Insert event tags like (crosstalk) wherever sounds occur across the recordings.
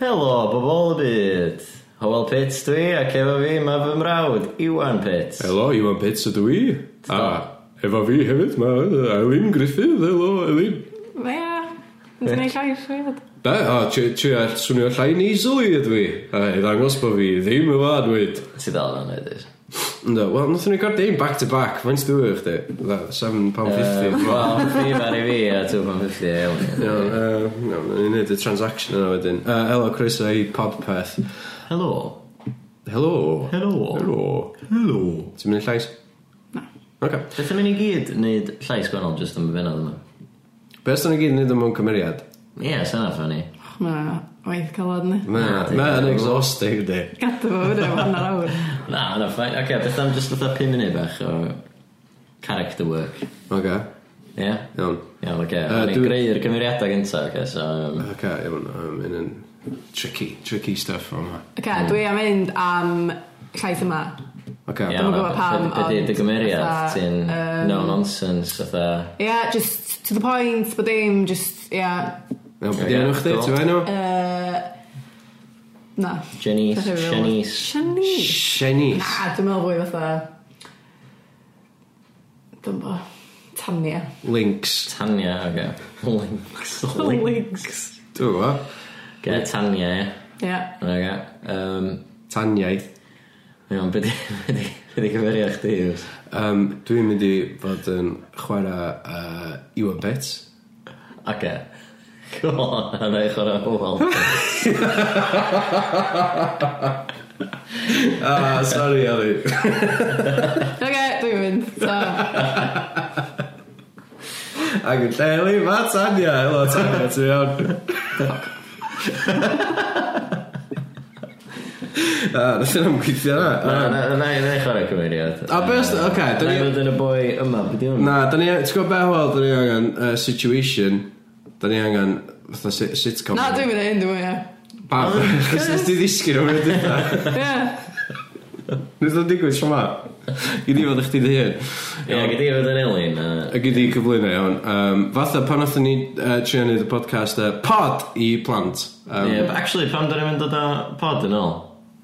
Helo bobol y byd Hywel Pits dwi ac efo fi mae fy mrawd Iwan Pits Helo, Iwan Pits ydw i. A efo fi hefyd, mae Elin Griffith. Helo, Elin. Ia, yn gwneud llais weird. Be, a tri- trio swnio llai nasally ydw i. A i ddangos bod fi ddim yma yn wyd. Ti ddal yn oed i'r No, wel, nath ni gordi ein back to back. Faint dwi eich di? Dda, Wel, £7.50. fi fan i fi a 250 No, ewn uh, no, ni'n neud y transaction yna wedyn. Uh, helo, Chris, i Podpeth. Helo Helo. Helo. Helo. Helo. Ti'n mynd i llais? No. Okay. Beth yn mynd i gyd wneud llais gwannol jyst am y bennod yma Be os da ni gyd yn neud y mewn cymeriad? Ie, syna ffynnu Mae waith calod ni. Na, Na, di- na, yn exhausting, di. (laughs) Gadw fo fyny am hanner awr. Na, na, ffain Oce, beth am jyst fatha 5 munud bach o character work Okay. Ie? Iawn. Iawn, oce Yy, Ni'n dwi- greu'r cymeriadau gyntaf, oce, so yym, Ok, iawn, um, yn yn tricky, tricky stuff o'n ma. Ok, dwi am mynd am llais yma. Ok, Iawn, yn gwbod pam, be- be 'di ond dy gymeriad? fatha, Ti'n yym, no-nonsense, fatha... Ia, just to the point, bod dim, just, ia, iawn, beth yna chdi, Cool. ti'n fawr nhw? uh, na. Janice, Beth yw'r Janice. Sianice. Shenis. Na, dwi'n meddwl fwy fatha... Dwi'n bo. Tania. Links. Tanya, oce. (laughs) Links. Links. Dwi'n fo. Ge, Tanya, ie. Ia. Oce. Um, Taniaeth. iawn, be di, (laughs) be di, be di cyfeiriad chdi? Iws? Um, dwi'n mynd i fod yn chwarae uh, Iwan Pets. Oce. (laughs) Go on, a na i chwarae hwyl. (laughs) (laughs) Ah, sorry, Ali. Oce, dwi'n mynd. So, Ac yn lle, Ali, ma Tania. Helo, Tania, ti'n iawn. (laughs) Ah, nath yna'n gweithio Na, na. na, na, na i chwarae cyfeiriad. Um, A be os- oce, dyn Na ni- i fod yn y boi yma, be di hwn? Na, da ni, ti'n gwybod beth wel, da ni angen uh, situation, da ni angen fatha si- sitcom. na, dwi'n mynd hyn, dwi'n mynd. Pa, (laughs) chos nes ti ddisgyn o'n mynd eitha. (laughs) Ia. Nes o'n digwydd sy'n ma. Gyd i fod eich ti dy hun. Ie, gyda i fod yn Elin. na. A gyd i gyflwyno iawn. Um, fatha, pan oedden ni uh, trio neud y podcast uh, pod i plant. Um, Ie, but actually, pam dyn ni'n mynd dod â pod yn ôl?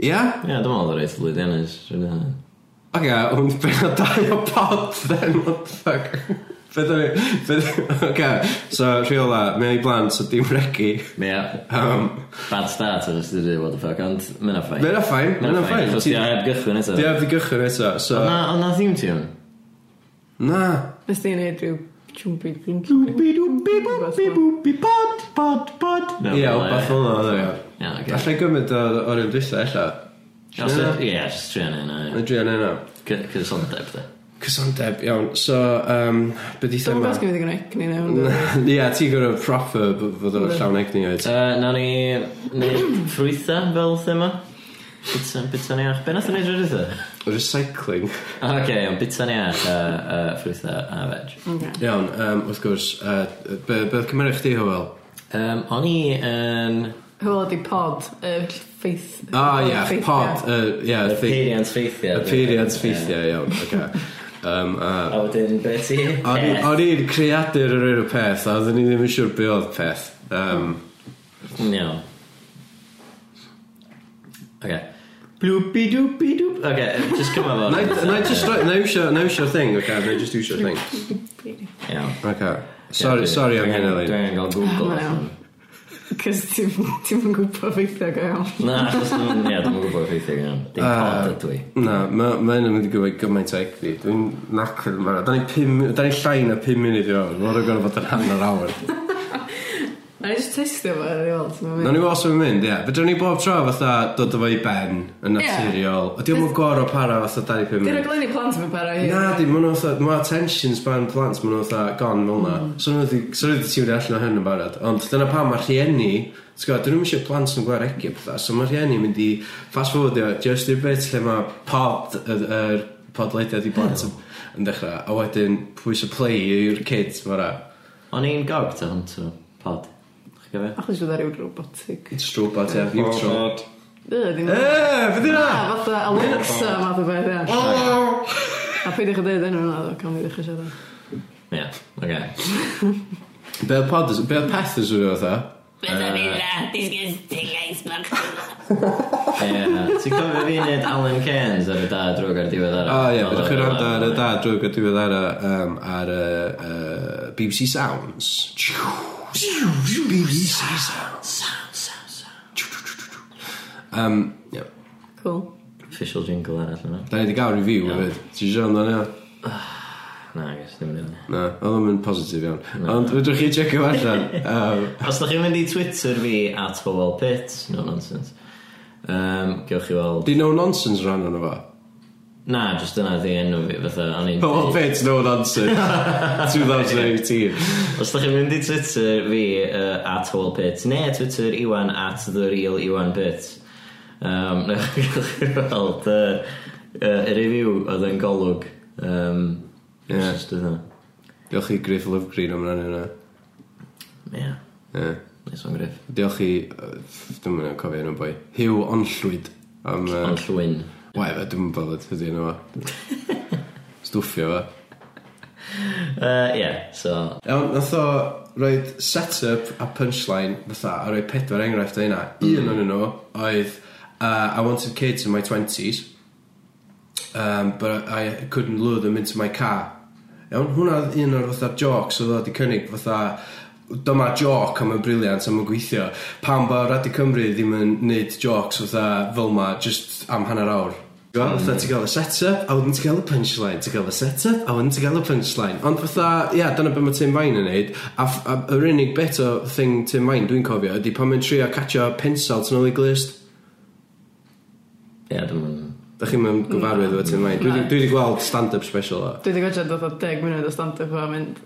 yeah? Ie, dwi'n meddwl oedd reit lwyddiannus. rhywbeth fel 'na. Ok, ond be na dau o pod, then, what the fuck? (laughs) Be da ni, (laughs) be da Ok, so rheola, mewn i blant, so dim regu. Ie. Um, Bad start os ti'n dweud what the fuck, ond mae'n ffain. Mae'n ffain, mae'n ffain. Os ti'n heb gychwyn eto. Di heb di gychwyn eto, so... Na, ond na ddim ti hwn. Na. Nes ti'n neud rhyw... Chwmpi, chwmpi. pod, pod, pod. Na, fel, Ie, o bath ie. o'n o'n o'n Ie, oce. e. Alla i gymryd o'r o'r un dwysa, alla. Os yd- Ie, just trio ni Yn yna. drian yna. Cysondeb, da. Cysondeb, iawn. So, um, be di thema? Dwi'n gwybod gyfyd yn ec ni Na, nawr. (laughs) Ie, ti gwrdd proper b- fod o'r llawn egni oed. Na ni neud ffrwytha fel thema. Bita, bita ni ach. Be nath ni neud rydw i (laughs) Recycling. Oce, ond bita ni ach a a ffrwytha a veg. Iawn, um, wrth gwrs, uh, be oedd cymeriad chdi, Hywel? Yym, O'n i yn Hwyl ydi pod, y ffeith. O, Ah, ie, ffeithiau. pod. yy, Ie, y thi- peiriant ffeithiau. y peiriant ffeithiau, iawn. Oce. (laughs) Um, a A wedyn, be ti? O'n i- o'n i'n creadur yr un o peth, a oedden ni ddim yn siŵr be oedd peth. Um, No. Okay. Bloopy doopy doop. Okay, just come on. na i na i just roi- na i iwsio, na i iwsio thing, oce, na i just iwsio thing. Yeah. Oce, sorry, sorry am hynny, Elin. Dwi'n gael Google. Wel. Cys ti'n ti'n gwybod ffeithio go iawn. Na, achos dwi'n yeah, dwi'n gwybod ffeithio gan. Dim Ah. pod ydw i. Na, ma- ma' hyn yn mynd i gyfod gymaint o egni. Dwi'n nac yn fara. Da ni'n pum- da ni'n llain o 5 munud i fewn. Mae'n rhaid gorfod bod yn hanner awr. Na i just testio fo ar ôl. Nawn ni weld sut mae'n mynd, ie. Fedrwn ni bob tro fatha dod â fo i ben yn naturiol. Ydi o'm yn gor'o' para fatha 25 Dwi'n munud. rhaglenni plant mewn para i. Na, di, maen nhw fatha, mae attention span plant, maen nhw fatha gone fel na. So nhw wedi, so nhw wedi tiwni allan o hyn yn barod. Ond dyna pam mae rhieni, ti'n gwybod, dyn nhw eisiau plant nhw'n gweld egi a pethau. So mae rhieni mynd i fast forwardio, just i'r bit lle mae pod, y- yr podleidiad i blant yn- yn dechrau. A wedyn, pwys y play i'r kids, mae'n rha. O'n i'n gog ta hwnt o pod. Chi'n gofio? Achos dwi'n rhyw robotic. It's true, but yeah, neutral. Yy, dim... E, fydd Na, yna! fatha Alexa math o beth, ia. A peidiwch a dweud enw yna, ddo, cael mi ddechrau siarad. Ie, oce. Be oedd pod, be oedd peth yswyd o fatha? Beth o'n i'n dda, disgusting, I iceberg. Ie, Ti'n cofio fi wneud Alan Cairns ar y da drwg ar diwedd ar O ie, byddwch chi'n rand ar y da drwy gyda'r ar, um, ar uh, uh, BBC Sounds. BBC Sounds. Um, ie. Cool. Official jingle arall yna. Da ni wedi gael review yeah. hefyd. Ti'n siarad amdano hynna? Na, gos, ddim rili. Na, oedd o'n mynd positif iawn. Ond fedrwch chi checio fo (laughs) allan. Um, Os da chi'n mynd i Twitter fi at Bobol Pits, no nonsense. Um, gewch chi weld... Di no nonsense rhan o'n efo. Na, just yna di enw fi, fatha, o'n i'n... All bits Oh, no nonsense. (laughs) 2018. Os da chi'n mynd i Twitter fi uh, at Howell Pitt neu Twitter Iwan at The Real Iwan Pitt um, (laughs) Newch chi gael gweld uh, uh, y review oedd yn golwg um, Ie. yeah. Just yna Diolch i Griff Love Green am rannu hwnna. Ie, Ie. nes o'n griff Diolch i, yy, dwi'm yn cofio enw boi, Hugh Onllwyd am... yy, Ond llwyn Wai fe, dwi'm yn bothered ydi enw fo. Stwffio fo. uh, yeah, so Iawn, nath o roed set-up a punchline fatha, a roed pedwar enghraifft o hynna. Un o'n nhw oedd, uh, I wanted kids in my 20s, um, but I couldn't lure them into my car. Iawn, hwnna oedd un o'r fatha jokes oedd o wedi cynnig fatha, dyma joc am y briliant am y gweithio. Pam bo Radi Cymru ddim yn neud jocs fatha fel ma, just am hanner awr. Gwbod? Fatha ti'n gael y set-up, a wedyn ti'n gael y punchline, ti'n gael y set-up, a wedyn ti'n gael y punchline. Ond fatha, ia, dyna beth mae Tim Vine yn neud, a, f- a yr unig bit o thing Tim Vine dwi'n cofio ydy pan mae'n trio catio pensal tu nôl i glist. Ie, yeah, dwi'n Da chi'n mynd gyfarwydd efo Tim Vine. Dwi 'di- dwi wedi gweld stand-up special o. Dwi wedi gwachod oedd o 10 munud o stand-up a mynd...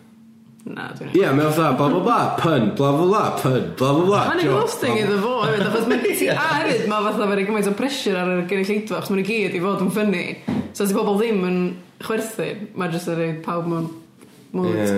Na, dwi'n Ie, yeah, mae'n fatha, bla bla bla, pun, bla bla bla, pun, bla bla bla. Mae'n joke, exhausting bla, bla, iddo fo hefyd, achos mae ti a hefyd mae fatha mae'n gymaint o pressure ar yr gynulleidfa, achos mae'n i gyd i fod yn ffynnu. So os y bobl ddim yn chwerthu, mae'n jyst yn rhoi pawb mewn mood. Ie.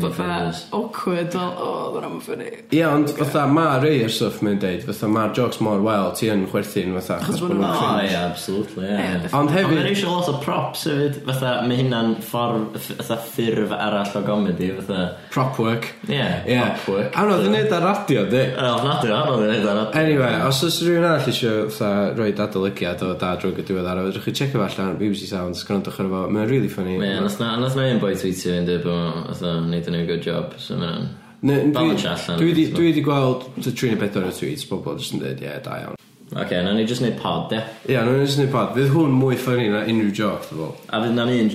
Fatha Ie, awkward, fel, o, dwi'n am ffynnu. Ie, ond fatha ma rei ar stuff mae'n deud, fatha ma'r jokes mor wel, ti yn chwerthin fatha. achos ma' nhw'n bo' nhw'n O, cringe. ie, absolutely, ie. Ie, Yeah. Ond Ond mae'n hefyd, eisiau lot o props hefyd, fatha, mae hynna'n ffordd, fatha ffurf arall o gomedi, fatha, prop work. ie, Ie. prop work. A nhw'n neud ar radio, di. Wel, nad yw, anodd i wneud ar adeg. Anyway, os oes rhywun arall eisiau fatha rhoi adolygiad o da drwg y diwedd ar, fedrwch chi checio fo allan, BBC Sounds, gwrandwch ar efo, mae'n really funny. Ie, nath na, nath na un boi tweetio yn dweud bod oedd o'n neud yn un good job, so mae'n... Ne- dwi- Balance allan. Dwi wedi- dwi wedi gweld t- tri neu bedwar o tweets, bobl jyst yn dweud, ie, da iawn. Oce, na ni jyst neud pod, ie. Ie, nhw'n jyst yn neud pod, fydd hwn mwy funny na unrhyw joc, dwi'n bol. A fydd na'n un,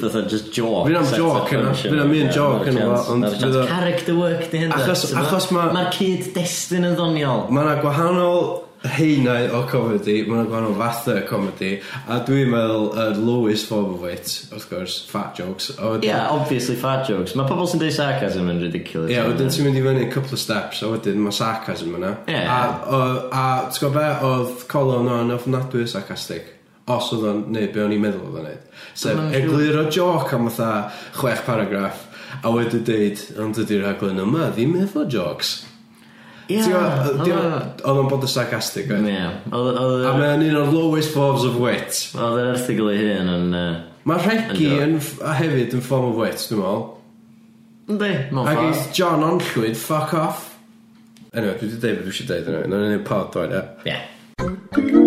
fatha, just joke. Fydd na'm set joke up yna, function. fydd na'm un Ie, joke na'r yna fo, chance- ond na'r chance. fydd o- Character work di hynny. Achos- achos ma- Mae'r cyd destun yn ddoniol. Mae yna gwahanol heinau o comedi, mae yna gwahanol fathau o comedi, a dwi'n meddwl y lowest form of it, wrth gwrs, fat jokes. A Ie, wedyn- yeah, obviously fat jokes. Mae pobl sy'n dweud sarcasm yn ridiculous. Ie, wedyn Ie, ti'n mynd i fyny a couple of steps, a wedyn mae sarcasm yna. Ie. A, o, a ti'n gwybod be, oedd Colin o'n ofnadwy o sarcastic. Os oedd o'n neud be o'n i'n meddwl oedd o'n neud. Sef, Ma'n siŵr. eglur o joc am fatha chwech paragraff, a wedyn deud, ond ydy'r rhaglen yma, ddim efo jocs. Ti'n gwbod, oedd dim- o- Oedd o'n bod yn sarcastic, oedd? Ie, oedd oedd A yr- mae'n un o'r lowest forms of wit. oedd yr erthigol ei hun yn... yy, Mae regi Yndw. yn, f- a hefyd yn form of wit, dwi'n meddwl. Yndi, mewn Ac ffordd. eith John Onllwyd, fuck off. Anyway, dwi wedi dweud beth dwi eisiau dweud yna. Yna'n un pod dwi'n e. Ie.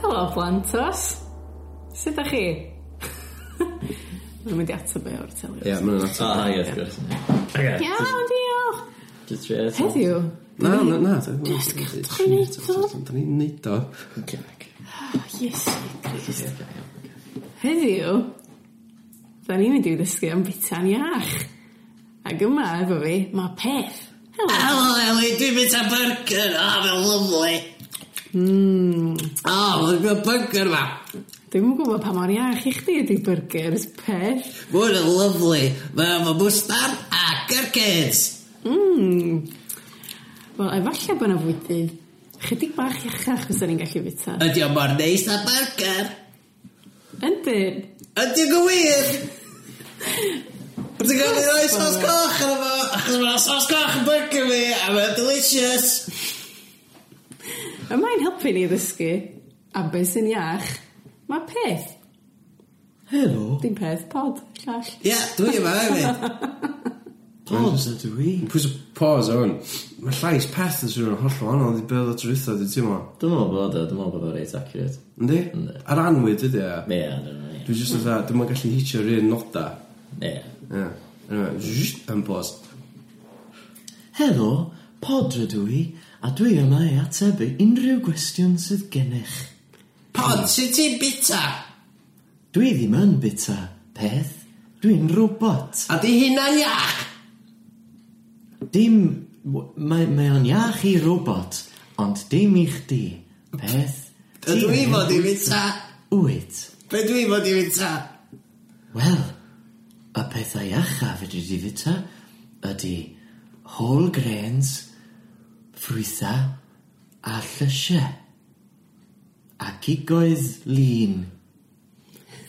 Helo, plantas. Sut da chi? (laughs) Mae'n mynd i atab e o'r Ie, teli. mae'n ato. O, ie, wrth gwrs. Ie. Iawn, diolch. Just try it. Heddiw. Na, na, na. Nes gadw chi'n neud o. Da ni'n neud o. Yes, Christ. Heddiw, da ni'n mynd i ddysgu am bitan iach. Ac yma efo fi, mae peth. Helo. Helo, Eli, dwi'n mynd a burger. O, mae'n lyflu. Mm. O, mae'n y burger ma. Dwi'm yn gwybod pa mor iach i chdi ydi burgers peth. Mae'n yn lyflu. Mae'n efo mwstar a gherkins. Mmm. Wel, efallai bod yna fwydydd. Chydig bach iachach fysa ni'n gallu bita. Ydi o mor neis a burger. Yndyn. Ydi o gywir. Ti'n gael ei roi sos coch ar efo. Achos mae'n sos coch yn burger fi. A mae'n delicious. Y mae'n helpu ni ddysgu. A beth sy'n iach, mae peth. Helo. Dim peth, pod, llall. Ie, dwi yma hefyd. Pods ydw i. Pwys y pause o'n. Mae llais peth yn swnio'n hollol wahanol i beth o drwytho dwi'n teimlo. Dwi'n meddwl bod o, dwi'n meddwl bod o'n reit accurate. Yndi? Yndi. Ar anwyd ydy e. Ie, dwi'n meddwl, Dwi jyst yn dda, dwi'n gallu hitio'r un noda. ie. Ie. Ie. Anyway, zzzzt, Yn pause. Helo, pod ydw i, a dwi yma i atebu unrhyw gwestiwn sydd gennych. Pod, sut ti'n bita? Dwi ddim yn bita, peth. Dwi'n robot. A di hynna'n iach! Dim... w- Mae, mae o'n iach i robot, ond dim i chdi, peth. Ydw i Ti- fod i fita? Wyt. Be dwi fod i fita? Wel, y pethau iacha fedri di fita ydy whole grains, ffrwytha a llysiau. A gigoedd lun,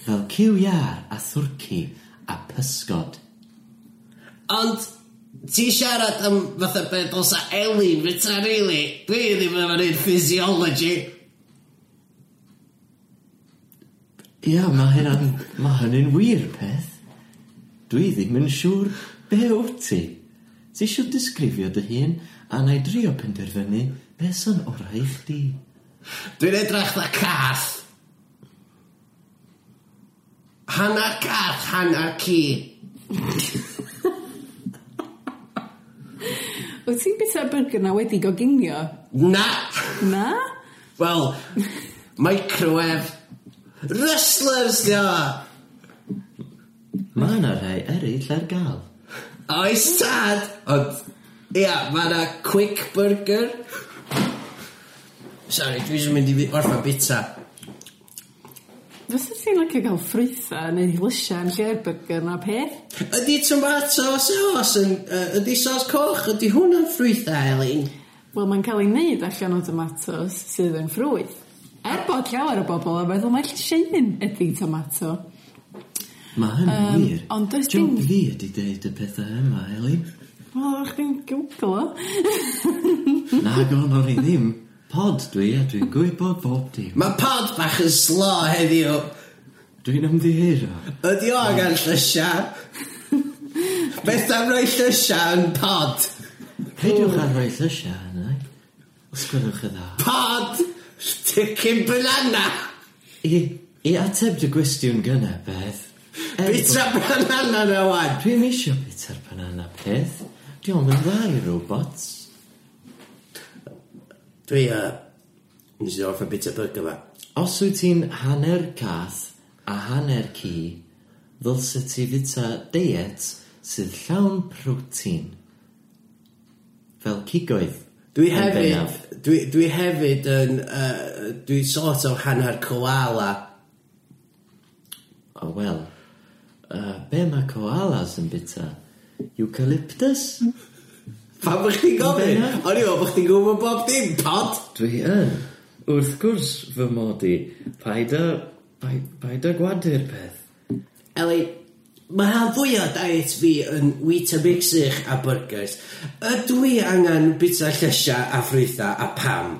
fel cyw iar a thwrci a pysgod. Ond, ti siarad am fatha be dylsa Elin fita rili? Dwi ddim yn fan hyn physiology. Ia, mae hynna'n... mae hynny'n wir peth. Dwi ddim yn siŵr be wyt ti. Ti eisiau disgrifio dy hun a na i drio penderfynu be sy'n orau i chdi. Dwi'n edrach dda cath. Hanna cath, hanna ci. Wyt ti'n bita burger na wedi goginio? Na! Na? Wel, microwave. Rustlers, dio! Mae yna rhai eraill ar gael. Oes tad! Ond, ia, mae yna quick burger. Sorry, dwi eisiau mynd i fi- orffen bita. Fysa ti'n licio cael ffrwytha neu lysia yn lle'r burger na peth? Ydy tomato sauce yn... Uh, ydy sos coch, ydy hwnna'n ffrwytha, Elin? Wel, mae'n cael ei wneud allan o tomatos sydd yn ffrwyth. Er bod llawer o bobl a meddwl mae llysieuyn ydy tomato. Mae hynny'n Yym, wir. ond does Job dim- fi ydi deud y pethau yma, Elin. Wel, o'ch chi'n gwglo. (laughs) Nag o'n o'r i ddim. Pod dwi a dwi'n gwybod bob dim. Mae pod bach yn slo heddiw. Dwi'n ymddihiro. Ydy o gan llysia? (laughs) Beth am roi llysia yn pod? Peidiwch ar roi llysiau yna. Os gwelwch y dda. Pod! Sticking banana! I, i ateb dy gwestiwn gyna, Beth. er Bita banana na wan! bod- Dwi'n eisiau bita'r banana peth. Diolch yn dda i robots. Dwi, uh... Nes i orffen bita burger fa. Os wyt ti'n hanner cath a hanner ci, ddylse ti fita diet sydd llawn protein. Fel cigoedd. Dwi yn bennaf. hefyd... Dwi, dwi hefyd yn... Uh, dwi sort of hanner koala. O, wel. Uh, be mae koalas yn bita? Eucalyptus? Pam bych chi'n gofyn? bennaf. O'n i o, bych chi'n gwybod bob dim, pod? Dwi yn. Wrth gwrs fy mod i. Paid a... Paid, paid a gwadu'r peth. Eli, mae rhan fwyaf o diet fi yn Weetabix sych a burgers. Ydw i angen bita llesia a ffrwytha a pam?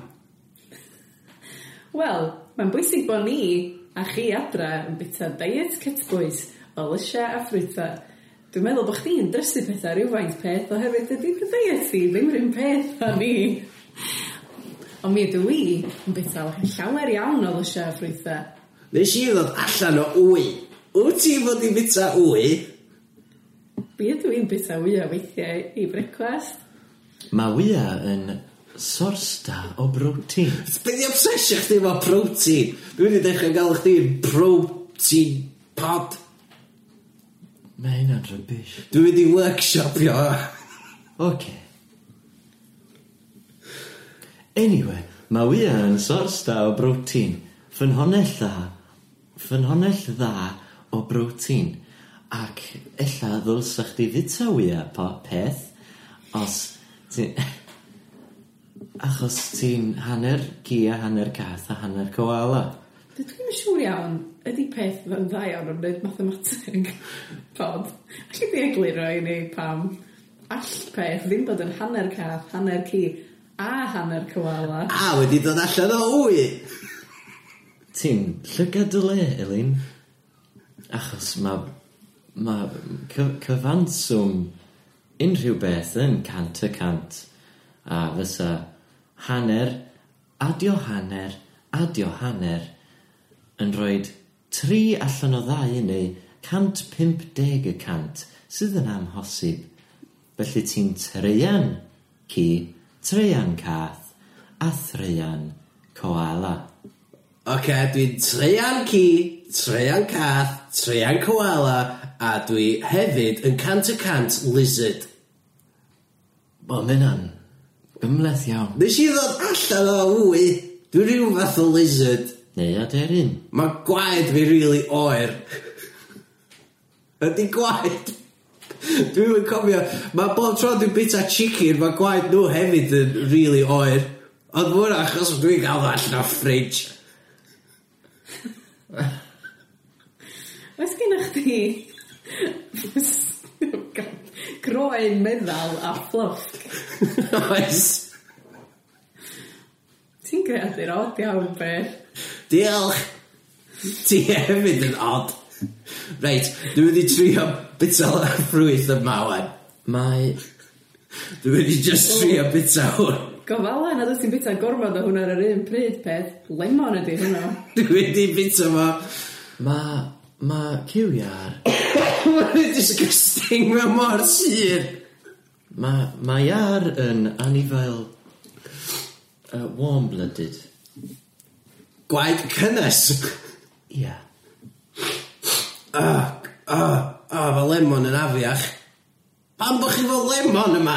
Wel, mae'n bwysig bod ni a chi adra yn bita diet cytbwys o lysia a ffrwytha. Dwi'n meddwl bod chdi'n drysu pethau rhywfaint peth oherwydd ydy dy diet ti ddim rhywun peth a ni. Ond mi ydw i yn bita llawer iawn o lysia a ffrwytha. Nes i ddod allan o wy. Wyt ti fod i bita wy? Mi ydw i'n bita wyau weithiau i brecwast. Mae wia yn sorsta o brotein. Be di obsesio chdi efo protein? Dwi wedi dechrau gael chdi'n protein pod. Mae hynna'n rybys. Dwi wedi workshopio. Oce. Anyway, mae wia yn sorsta o brotein. Ffynhonell dda. Ffynhonell dda o brotein. Ac ella ddylsa chdi fita wia po peth os ti'n... (laughs) Achos ti'n hanner gi a hanner cath a hanner koala. Dydw i'n siŵr iawn, ydy peth yn dda iawn o'n wneud mathemateg (laughs) pod. Alli di egluro i ni pam. All peth ddim bod yn hanner cath, hanner ci a hanner koala. A wedi dod allan o wy. Ti'n llygad dy le, Elin. Achos mae ma cy- cyfanswm unrhyw beth yn cant y cant. A fysa hanner, adio hanner, adio hanner yn rhoi tri allan o ddau neu 150 y cant sydd yn amhosib. Felly ti'n treian ci, treian cath, a threian koala. Ok, dwi'n treian ci, treian cath, treian koala, a dwi hefyd yn cant y cant lizard. Wel, mae hynna'n gymleth iawn. Nes i ddod allan o wwy, dwi rhyw fath o lizard. Neu aderyn. Mae gwaed fi rili really oer. Ydy gwaed. Dwi'n yn cofio, mae bob tro dwi'n bita chicken, mae gwaed nhw hefyd yn rili really oer. Ond mwyn achos dwi'n gael nhw allan o fridge. (laughs) Oes gen eich di... (laughs) Groen meddal a fluff. Oes. Ti'n creadu'r od iawn beth. Diolch. Ti hefyd yn odd. Reit, dwi'n mynd i trio bita ffrwyth yma wan. Mae... Dwi'n mynd i just trio bita hwn. Gofala nad oes ti'n bita gormod o hwnna ar yr un pryd peth. Lemon ydi hwnna. Dwi'n mynd i bita fo. Mae... Mae cywiar... Mae'n disgusting mewn mor sydd. Mae... Mae iar yn anifail... Uh, warm-blooded. Gwaed cynnes. Ia. Ah, ah, ah, mae lemon yn afiach. Pam bych chi fod lemon yma?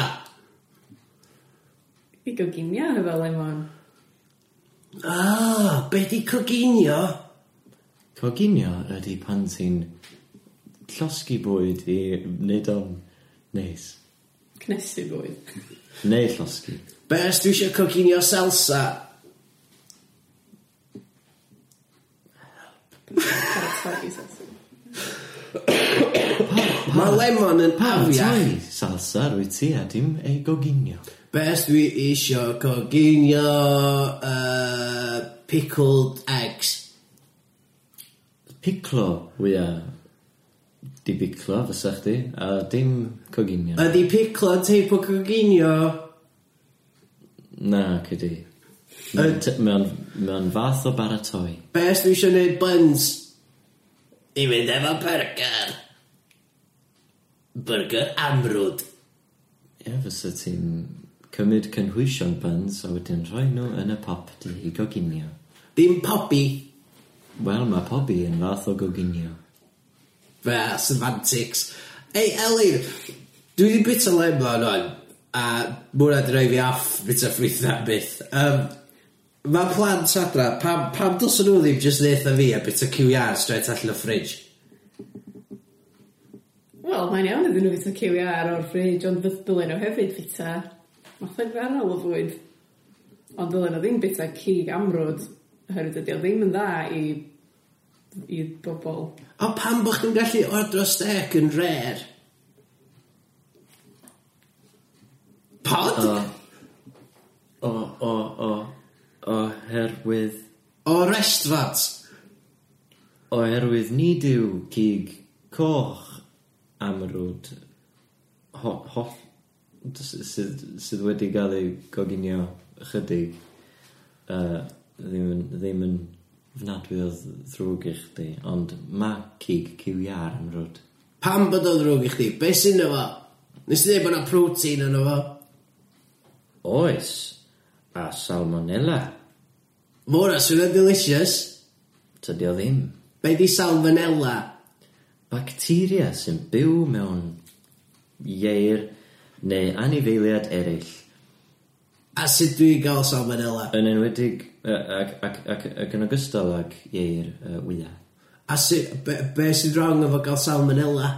I goginio efo lemon. Ah, be di coginio? Coginio ydy pan ti'n llosgu bwyd i wneud o'n neis. Cnesu bwyd. Neu llosgu. Be os dwi eisiau coginio salsa? Carotagi sausage. Mae lemon yn Pam afiach. tai salsa rwy ti a dim ei goginio. Be os dwi eisiau coginio uh, pickled eggs? Piclo, wya. Di biclo, fysa chdi, a dim coginio. Ydi piclo teip o coginio? Na, cydi. Mae'n t- mae'n mae'n fath o baratoi. Be os dwi eisiau gwneud buns? I fynd efo burger. Burger amrwd. Ie, fysa ti'n cymryd cynhwysion buns a wedyn rhoi nhw yn y pop di i goginio. Dim poppy. Wel, mae pobi yn fath o goginio. Fe, semantics. Ei, Elin, dwi wedi bit o lemon o'n, a mwna di roi fi off bit o ffritha byth. Um, Mae plant adra, pam, pam dylsyn nhw ddim jyst neitha fi a bit o QR straight allan o fridge? Wel, mae'n iawn iddyn nhw fita CWR o'r fridge, ond fydd dylen nhw hefyd fita. Mae'n llygfarnol o fwyd. Ond dylen nhw ddim bita cig amrwd, oherwydd ydi o ddim yn dda i, i bobl. O pam bych chi'n gallu ordro stec yn rare? Pod? O, o, o, oherwydd... O restaurant? Oherwydd ni dyw cig coch amrwd ho, holl d- sydd, sydd wedi gael ei goginio ychydig uh, ddim, yn, ddim yn fnadwy o dd- ddrwg i chdi, ond mae cig cywiar amrwd. Pam bod o'n drwg i chdi? Be sy'n efo? Nes i ddweud bod yna protein yn efo? Oes, a salmonella, Mora, sy'n o'n delicious? tydi o ddim. Be di salmonella? bacteria sy'n byw mewn ieir neu anifeiliad eraill. A sut dwi'n gael salmonella? Yn enwedig yy, ac, ac, ac, ac yn ogystal ag ieir uh, wyia. A sut, be, be sy'n wrong efo gael salmonella?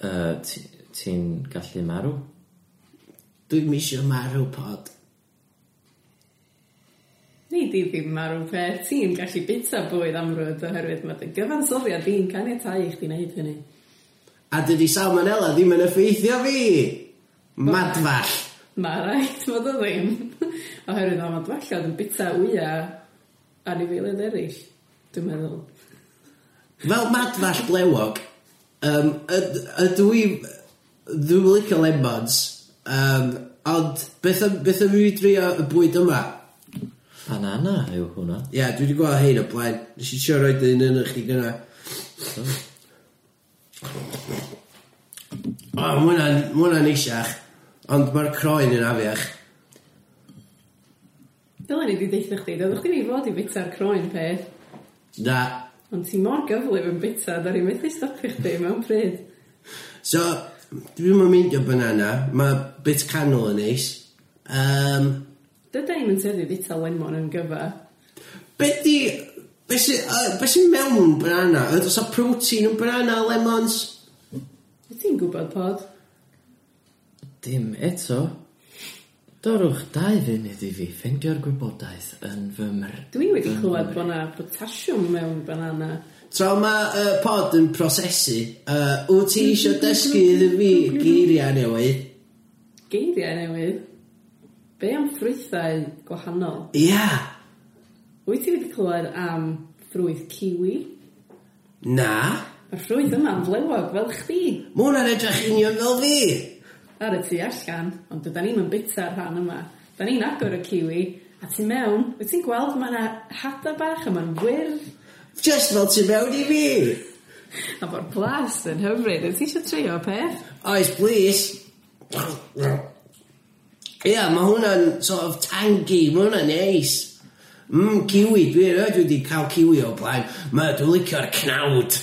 Uh, Ti'n ti gallu marw? Dwi'n misio marw pod. Ni di ddim marw peth, ti'n gallu bita bwyd amrwd oherwydd mae dy gyfansoddiad di'n caniatau i chdi wneud hynny. A dydi salmonella ddim yn effeithio fi! Madfall! Mae rhaid fod o ddim, (laughs) oherwydd mae madwallod yn bita wyau anifeiliad eraill, dwi'n meddwl. Fel madfall blewog, um, yd- ydw i... Dwi'n licio lemons, um, ond beth, am- beth am i fi drio y bwyd yma? Banana yw hwnna. Ie, yeah, dwi wedi gweld hein o blaen. Nes i sio roed un yn ychydig yna. O, oh, mwna'n eisiach, ond mae'r croen yn afiach. Dyla ni wedi deitha chdi, doeddech chdi ni fod i bita'r croen peth, Na. ond ti mor gyflym yn bita, da ni'n methu stopio chdi mewn pryd. So, dwi'n mynd meindio banana, mae bit canol yn neis. Um, Dyda i'm yn teddu bita lemon yn gyfa. Be di... Be sy- yy, be sy'n mewn banana? Ydw oes o protein yn banana, lemons? Wyt ti'n gwybod pod? Dim eto. Dorwch dau funud i fi ffeindio'r gwybodaeth yn fy myr... Dwi wedi clywed bod na potasiwm mewn banana. Tra mae uh, pod yn prosesu, uh, wyt ti eisiau dysgu iddi fi geiriau newydd? Geiriau newydd. Be am ffrwythau gwahanol? Ia. Wyt ti wedi clywed am ffrwyth kiwi? Na. Mae'r ffrwyth yma'n flewog fel chdi Mae hwnna'n edrych union fel fi. ar y tu allan, ond dyda ni'n bita'r rhan yma. Da ni'n agor y kiwi, a ti mewn, wyt ti'n gweld mae yna hada bach yma'n wyrdd, Just fel ti mewn i fi. a bo'r blast yn hyfryd, wyt ti eisiau trio peth? Oes, please. Ia, mae hwnna'n sort of tangy, mae hwnna'n neis. Mmm, kiwi, dwi erioed wedi cael kiwi o blaen. Mae dwi'n licio'r cnawd.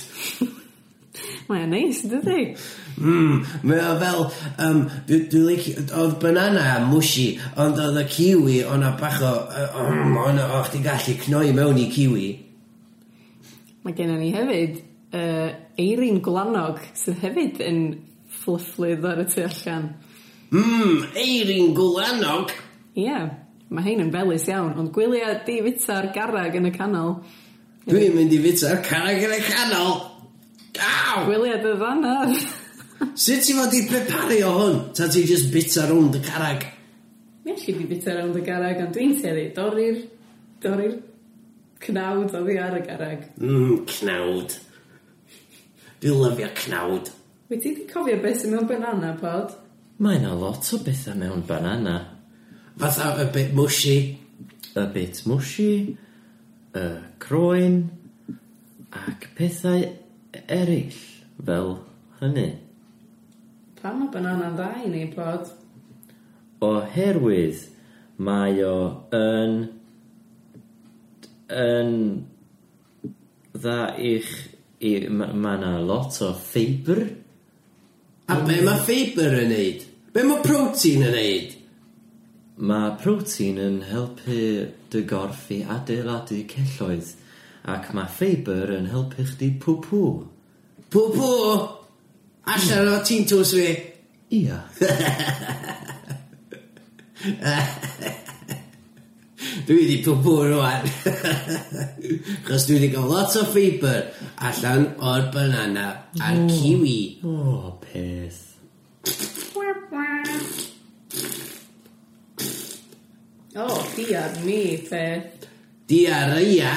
Mae'n neis, dydy? Mm, mae o fel, um, dwi, dwi lici, oedd banana a mushy, ond oedd y kiwi, o'na bach o, um, o'na o'ch di gallu cnoi mewn i kiwi. Mae gennym ni hefyd uh, eirin gwlanog sydd hefyd yn flufflydd ar y tu allan. Mmm, eirin gwlanog. Ie, yeah, mae hein yn felus iawn, ond gwylia di fita'r garag yn y canol. Dwi'n mynd i fita'r carag yn y canol. Aw! Gwylia dy (laughs) ddanar. Sut ti fod i preparu o hwn? Ta ti just bita rownd y carag? Mi eisiau di bita rownd y garag, ond dwi'n teddu dorri'r, dorri'r cnawd o fi ar y garag. Mmm, cnawd. Dwi'n lyfio cnawd. Wyt ti di cofio beth sy'n mewn banana pod? Mae na lot o bethau mewn banana. Fatha a bit mushy. Y bit mushy, y croen, ac pethau e-, eraill fel hynny. Pam mae banana'n dda i ni pod? Oherwydd mae o yn... yn... dda i'ch... I, ma, ma na lot o ffeibr. A be mae ffeibr yn neud? Be mae protein yn neud? Mae protein yn helpu dy gorff i adeiladu celloedd ac mae ffeibr yn helpu chdi pwpw. Pw pw! Allan o ti'n tws fi. Ia. Dwi wedi pw pw rwan. (laughs) Chos dwi wedi cael lot o ffeibr allan o'r banana a'r kiwi. O, peth. O, oh, diad mi, peth. Diarrhea.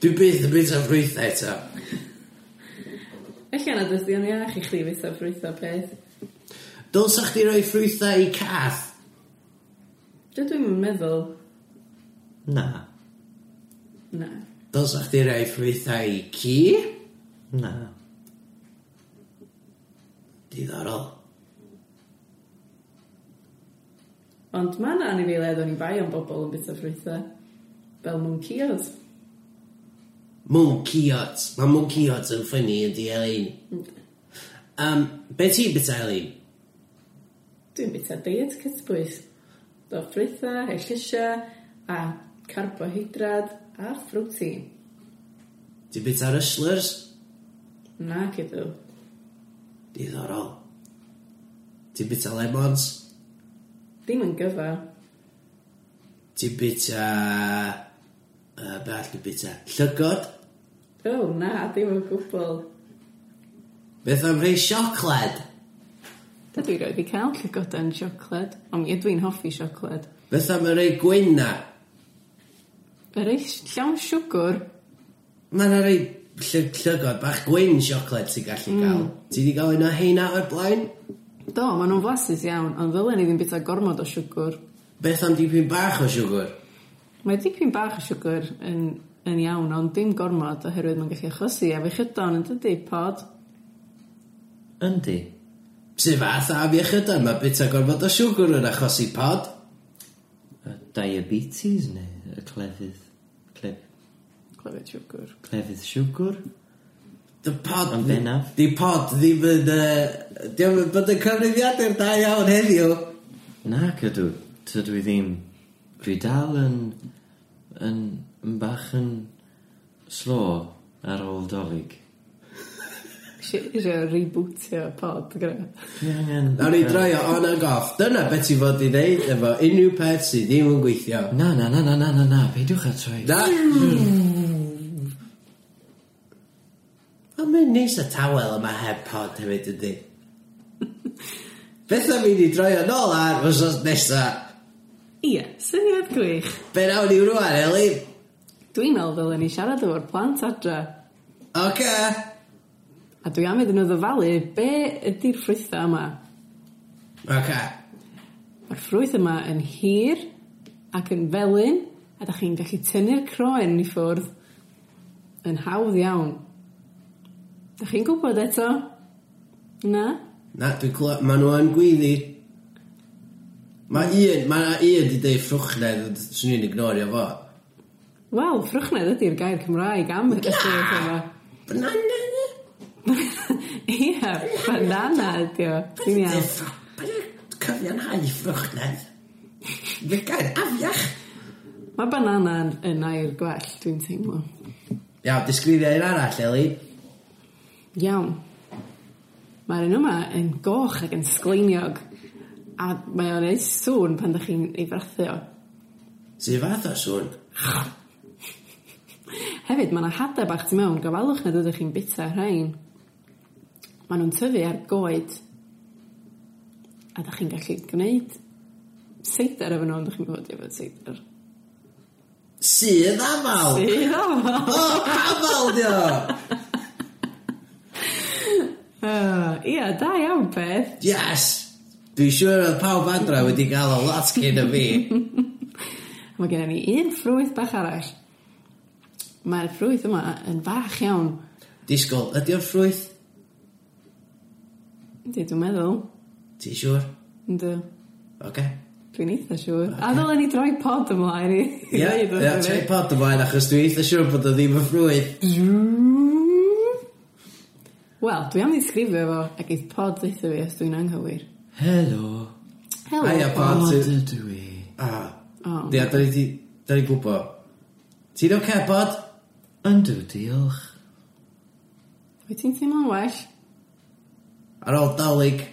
Dwi byth yn bit o ffrwythau eto. Felly yna dysgu o'n iach i chdi bita ffrwythau peth. Dylsa chdi roi ffrwythau i cath? Dydw i'n meddwl, Na. na. Dylsa chdi roi ffrwythau i ci? Na. Diddorol. Ond mae yna anifeiliaid o'n i bai o'n bobl yn bita ffrwythau. Fel mwnceos. Mwnceots. Mae mwnceots yn ffynnu yn di Elin. Um, be ti bita Elin? Dwi'n bita diet cytbwys. Do ffrwythau, hellysia, a carbohydrad, a ffrwti. Ti bita Rustlers? Na, cydw. Diddorol. Ti bita Lemons? Ddim yn gyfa. Ti bita... Uh, be all di bita? Llygod? O, oh, na, ddim yn gwbl. Beth am rei siocled? Ydw i roed i cael llygoden siocled. Ond mi ydw i'n hoffi siocled. Fytha mae rei gwyna. Yr eich llawn siwgr. Mae yna rei lly- llygod bach gwyn siocled sy'n gallu gael. Ti di gael un o heina o'r blaen? Do, maen nhw'n flasus iawn, ond ddylen ni ddim bita gormod o siwgr. Beth am dipyn bach o siwgr? Mae dipyn bach o siwgr yn, yn iawn, ond dim gormod oherwydd mae'n gallu achosi a fe chydon yn dydy pod. Yndi. Sy'n fath am iechydon, mae bita gorfod o siwgr yn achosi pod. Y Diabetes neu y clefydd. Clef, Clefyd siwgr. clefydd siwgr? Dy pod... Yn bennaf. Di pod ddim yn... yy, Diolch yn bod yn cyfrifiadur da iawn heddiw. Nac ydw. Tydw i ddim. Dwi dal yn... yn... yn bach yn... slo ar ôl dolyg. Eisiau rebootio pod, gyda. Dwi angen... Nawr ni droi o on ag off. Dyna beth ti fod i ddeud efo unrhyw peth sydd ddim yn gweithio. Na, na, na, na, na, na, na, beidiwch a troi. Da! Ond mae'n neis y tawel yma heb pod hefyd ydy. Beth am i ni droi o'n ôl ar fysos nesa? Ie, syniad gwych. Be nawn ni rwan, Eli? Dwi'n meddwl ddylen ni siarad efo'r plant adra. Oce! A dwi am iddyn nhw ddyfalu be ydy'r ffrwythau yma. Oce. Mae'r ffrwyth yma yn hir ac yn felyn, a da chi'n gallu tynnu'r croen i ffwrdd yn hawdd iawn. Da chi'n gwybod eto? Na? Na, dwi'n clywed, maen nhw yn gwyddi. Mae un, mae na un di deud ffrwchnedd, ond swn i'n ignorio fo. Wel, ffrwchnedd ydy'r gair Cymraeg am y ffrwyth yma. Banana! Ie, banana ydi o. Ti'n iawn. Cyfiawnhau ffrwchnedd. Fe gair afiach. Mae banana yn, yn air gwell, dwi'n teimlo. Iawn, disgrifio un arall, Eli. Iawn. Mae'r un yma yn goch ac yn sgleiniog, a mae o'n ei sŵn pan da chi'n ei frathu o. Sy'n fath o sŵn? Hefyd, mae yna hadau bach tu mewn gofalwch nad ydych chi'n bita rhain. Mae nhw'n tyfu ar goed. A da chi'n gallu gwneud seidr efo nhw, ond da chi'n gwybod efo seidr. (laughs) Sydd amal! Sydd o fo! O, amal di o! Yy, Ie, da iawn beth. Yes! Dwi'n siŵr oedd pawb adra wedi gael o lot cyn y fi. Mae gennym ni un ffrwyth bach arall. Mae'r ffrwyth yma yn fach iawn. Disgwyl, ydy o'r ffrwyth? Ydy, dwi'n meddwl. Ti'n siŵr? Ynddo. Oce. Dwi'n eitha siŵr. A ddylen ni droi pod ymlaen i. i Ia, ddeud wrthyn ia, ni. troi pod ymlaen achos dwi eitha siŵr bod o ddim yn ffrwyth. Wel, dwi am ddisgrifio fo ac eith pod ddeitha fi os dwi'n anghywir. Helo, Helo. Hiya, pod. bod Ti- ydw i. Ah, O, ia, da ni di... Da ni gwybod. Ti'n oce, bod? Yndw, diolch. wyt ti'n teimlo'n well? Ar ôl dalig.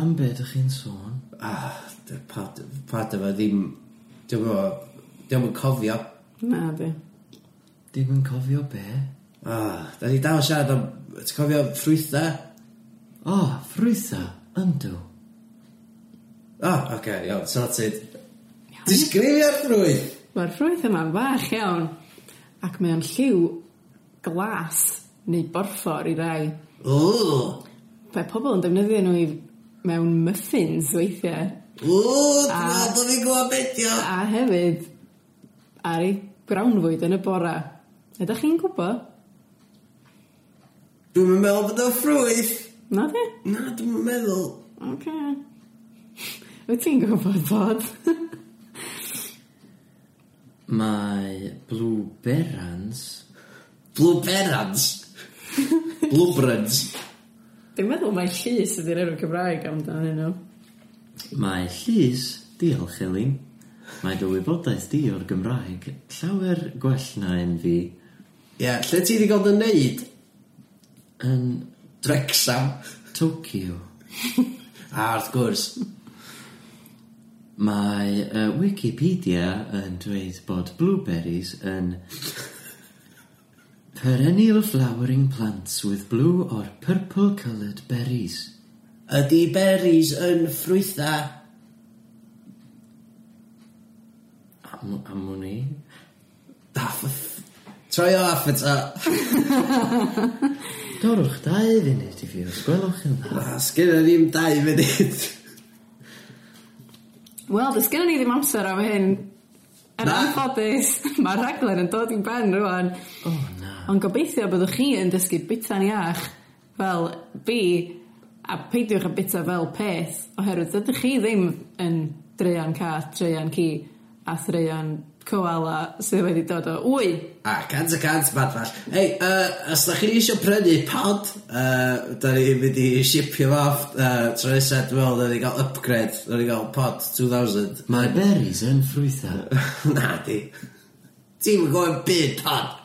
Am be ydych chi'n sôn? Ah, dy pod, pod efo ddim... Dwi'n gwybod... Dwi'n gwybod cofio. Na, di. Dim yn cofio be? Ah, da ni dal yn siarad am... Ti'n cofio ffrwythau? O, ffrwytha, yndw. Ah, oce, okay, iawn, sorted. Disgrifio'r ffrwyth! Mae'r ffrwyth yma'n fach iawn ac mae o'n lliw glas neu borffor i rai. Ww! Mae pobl yn defnyddio nhw i mewn muffins weithiau Ww, A- dwi'n bod fi'n gwybod bedio! a hefyd ar ei grawnfwyd yn y bora. Ydych chi'n gwybod? Dwi'n meddwl bod o'n ffrwyth! Na di? Na, dwi'n meddwl... Oce. (laughs) Wyt ti'n gwybod (laughs) bod? Mae Blue Berans Blueberans! Blueberans! Dwi'n meddwl mae llys ydy'r enw Cymraeg amdanyn nhw. Mae llys, diolch Elin. Mae dy wybodaeth di o'r Gymraeg llawer gwell na un fi Ie, yeah, lle ti wedi gael dy wneud? yn Drexam! Tokyo. A, Ah, wrth gwrs. Mae uh, Wikipedia yn dweud bod blueberries (laughs) yn perennial flowering plants with blue or purple coloured berries. Ydy berries yn ffrwytha? Am, am hwn i? Da, ff- Troi o off eto. Dorwch dau funud i fi, os gwelwch yn dda. Na, Sgynna ni'm dau munud. Wel, does gen i ddim amser am hyn. Yn Na. anffodus, (laughs) mae'r raglen yn dod i'n ben rwan. O, na. Ond gobeithio byddwch chi yn dysgu bita'n iach fel fi a peidiwch a bita fel peth oherwydd dydych chi ddim yn dreian cat, dreian ci a threian koala sydd wedi dod o wy. A, cant a cant, bad fall. Hei, uh, os da chi eisiau prynu pod, uh, da ni mynd i shipio fo off, uh, tro nesaf, dwi'n meddwl, da ni gael upgrade, da ni gael pod 2000. Mae berries yn ffrwytha. (laughs) Na, di. Ti'n mynd gofyn byd pod.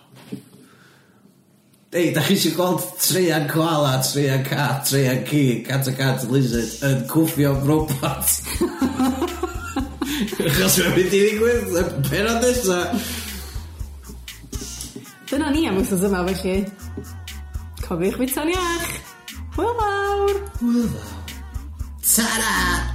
Ei, da chi eisiau gweld treian koala, treian cat, treian ci, cant a cant lizard yn cwffio am robot. Achos mae'n mynd i ddigwydd y penod nesaf. Dyna ni am wythnos yma felly. Cofiwch bita'n iach. Hwyl mawr! Ta-ra!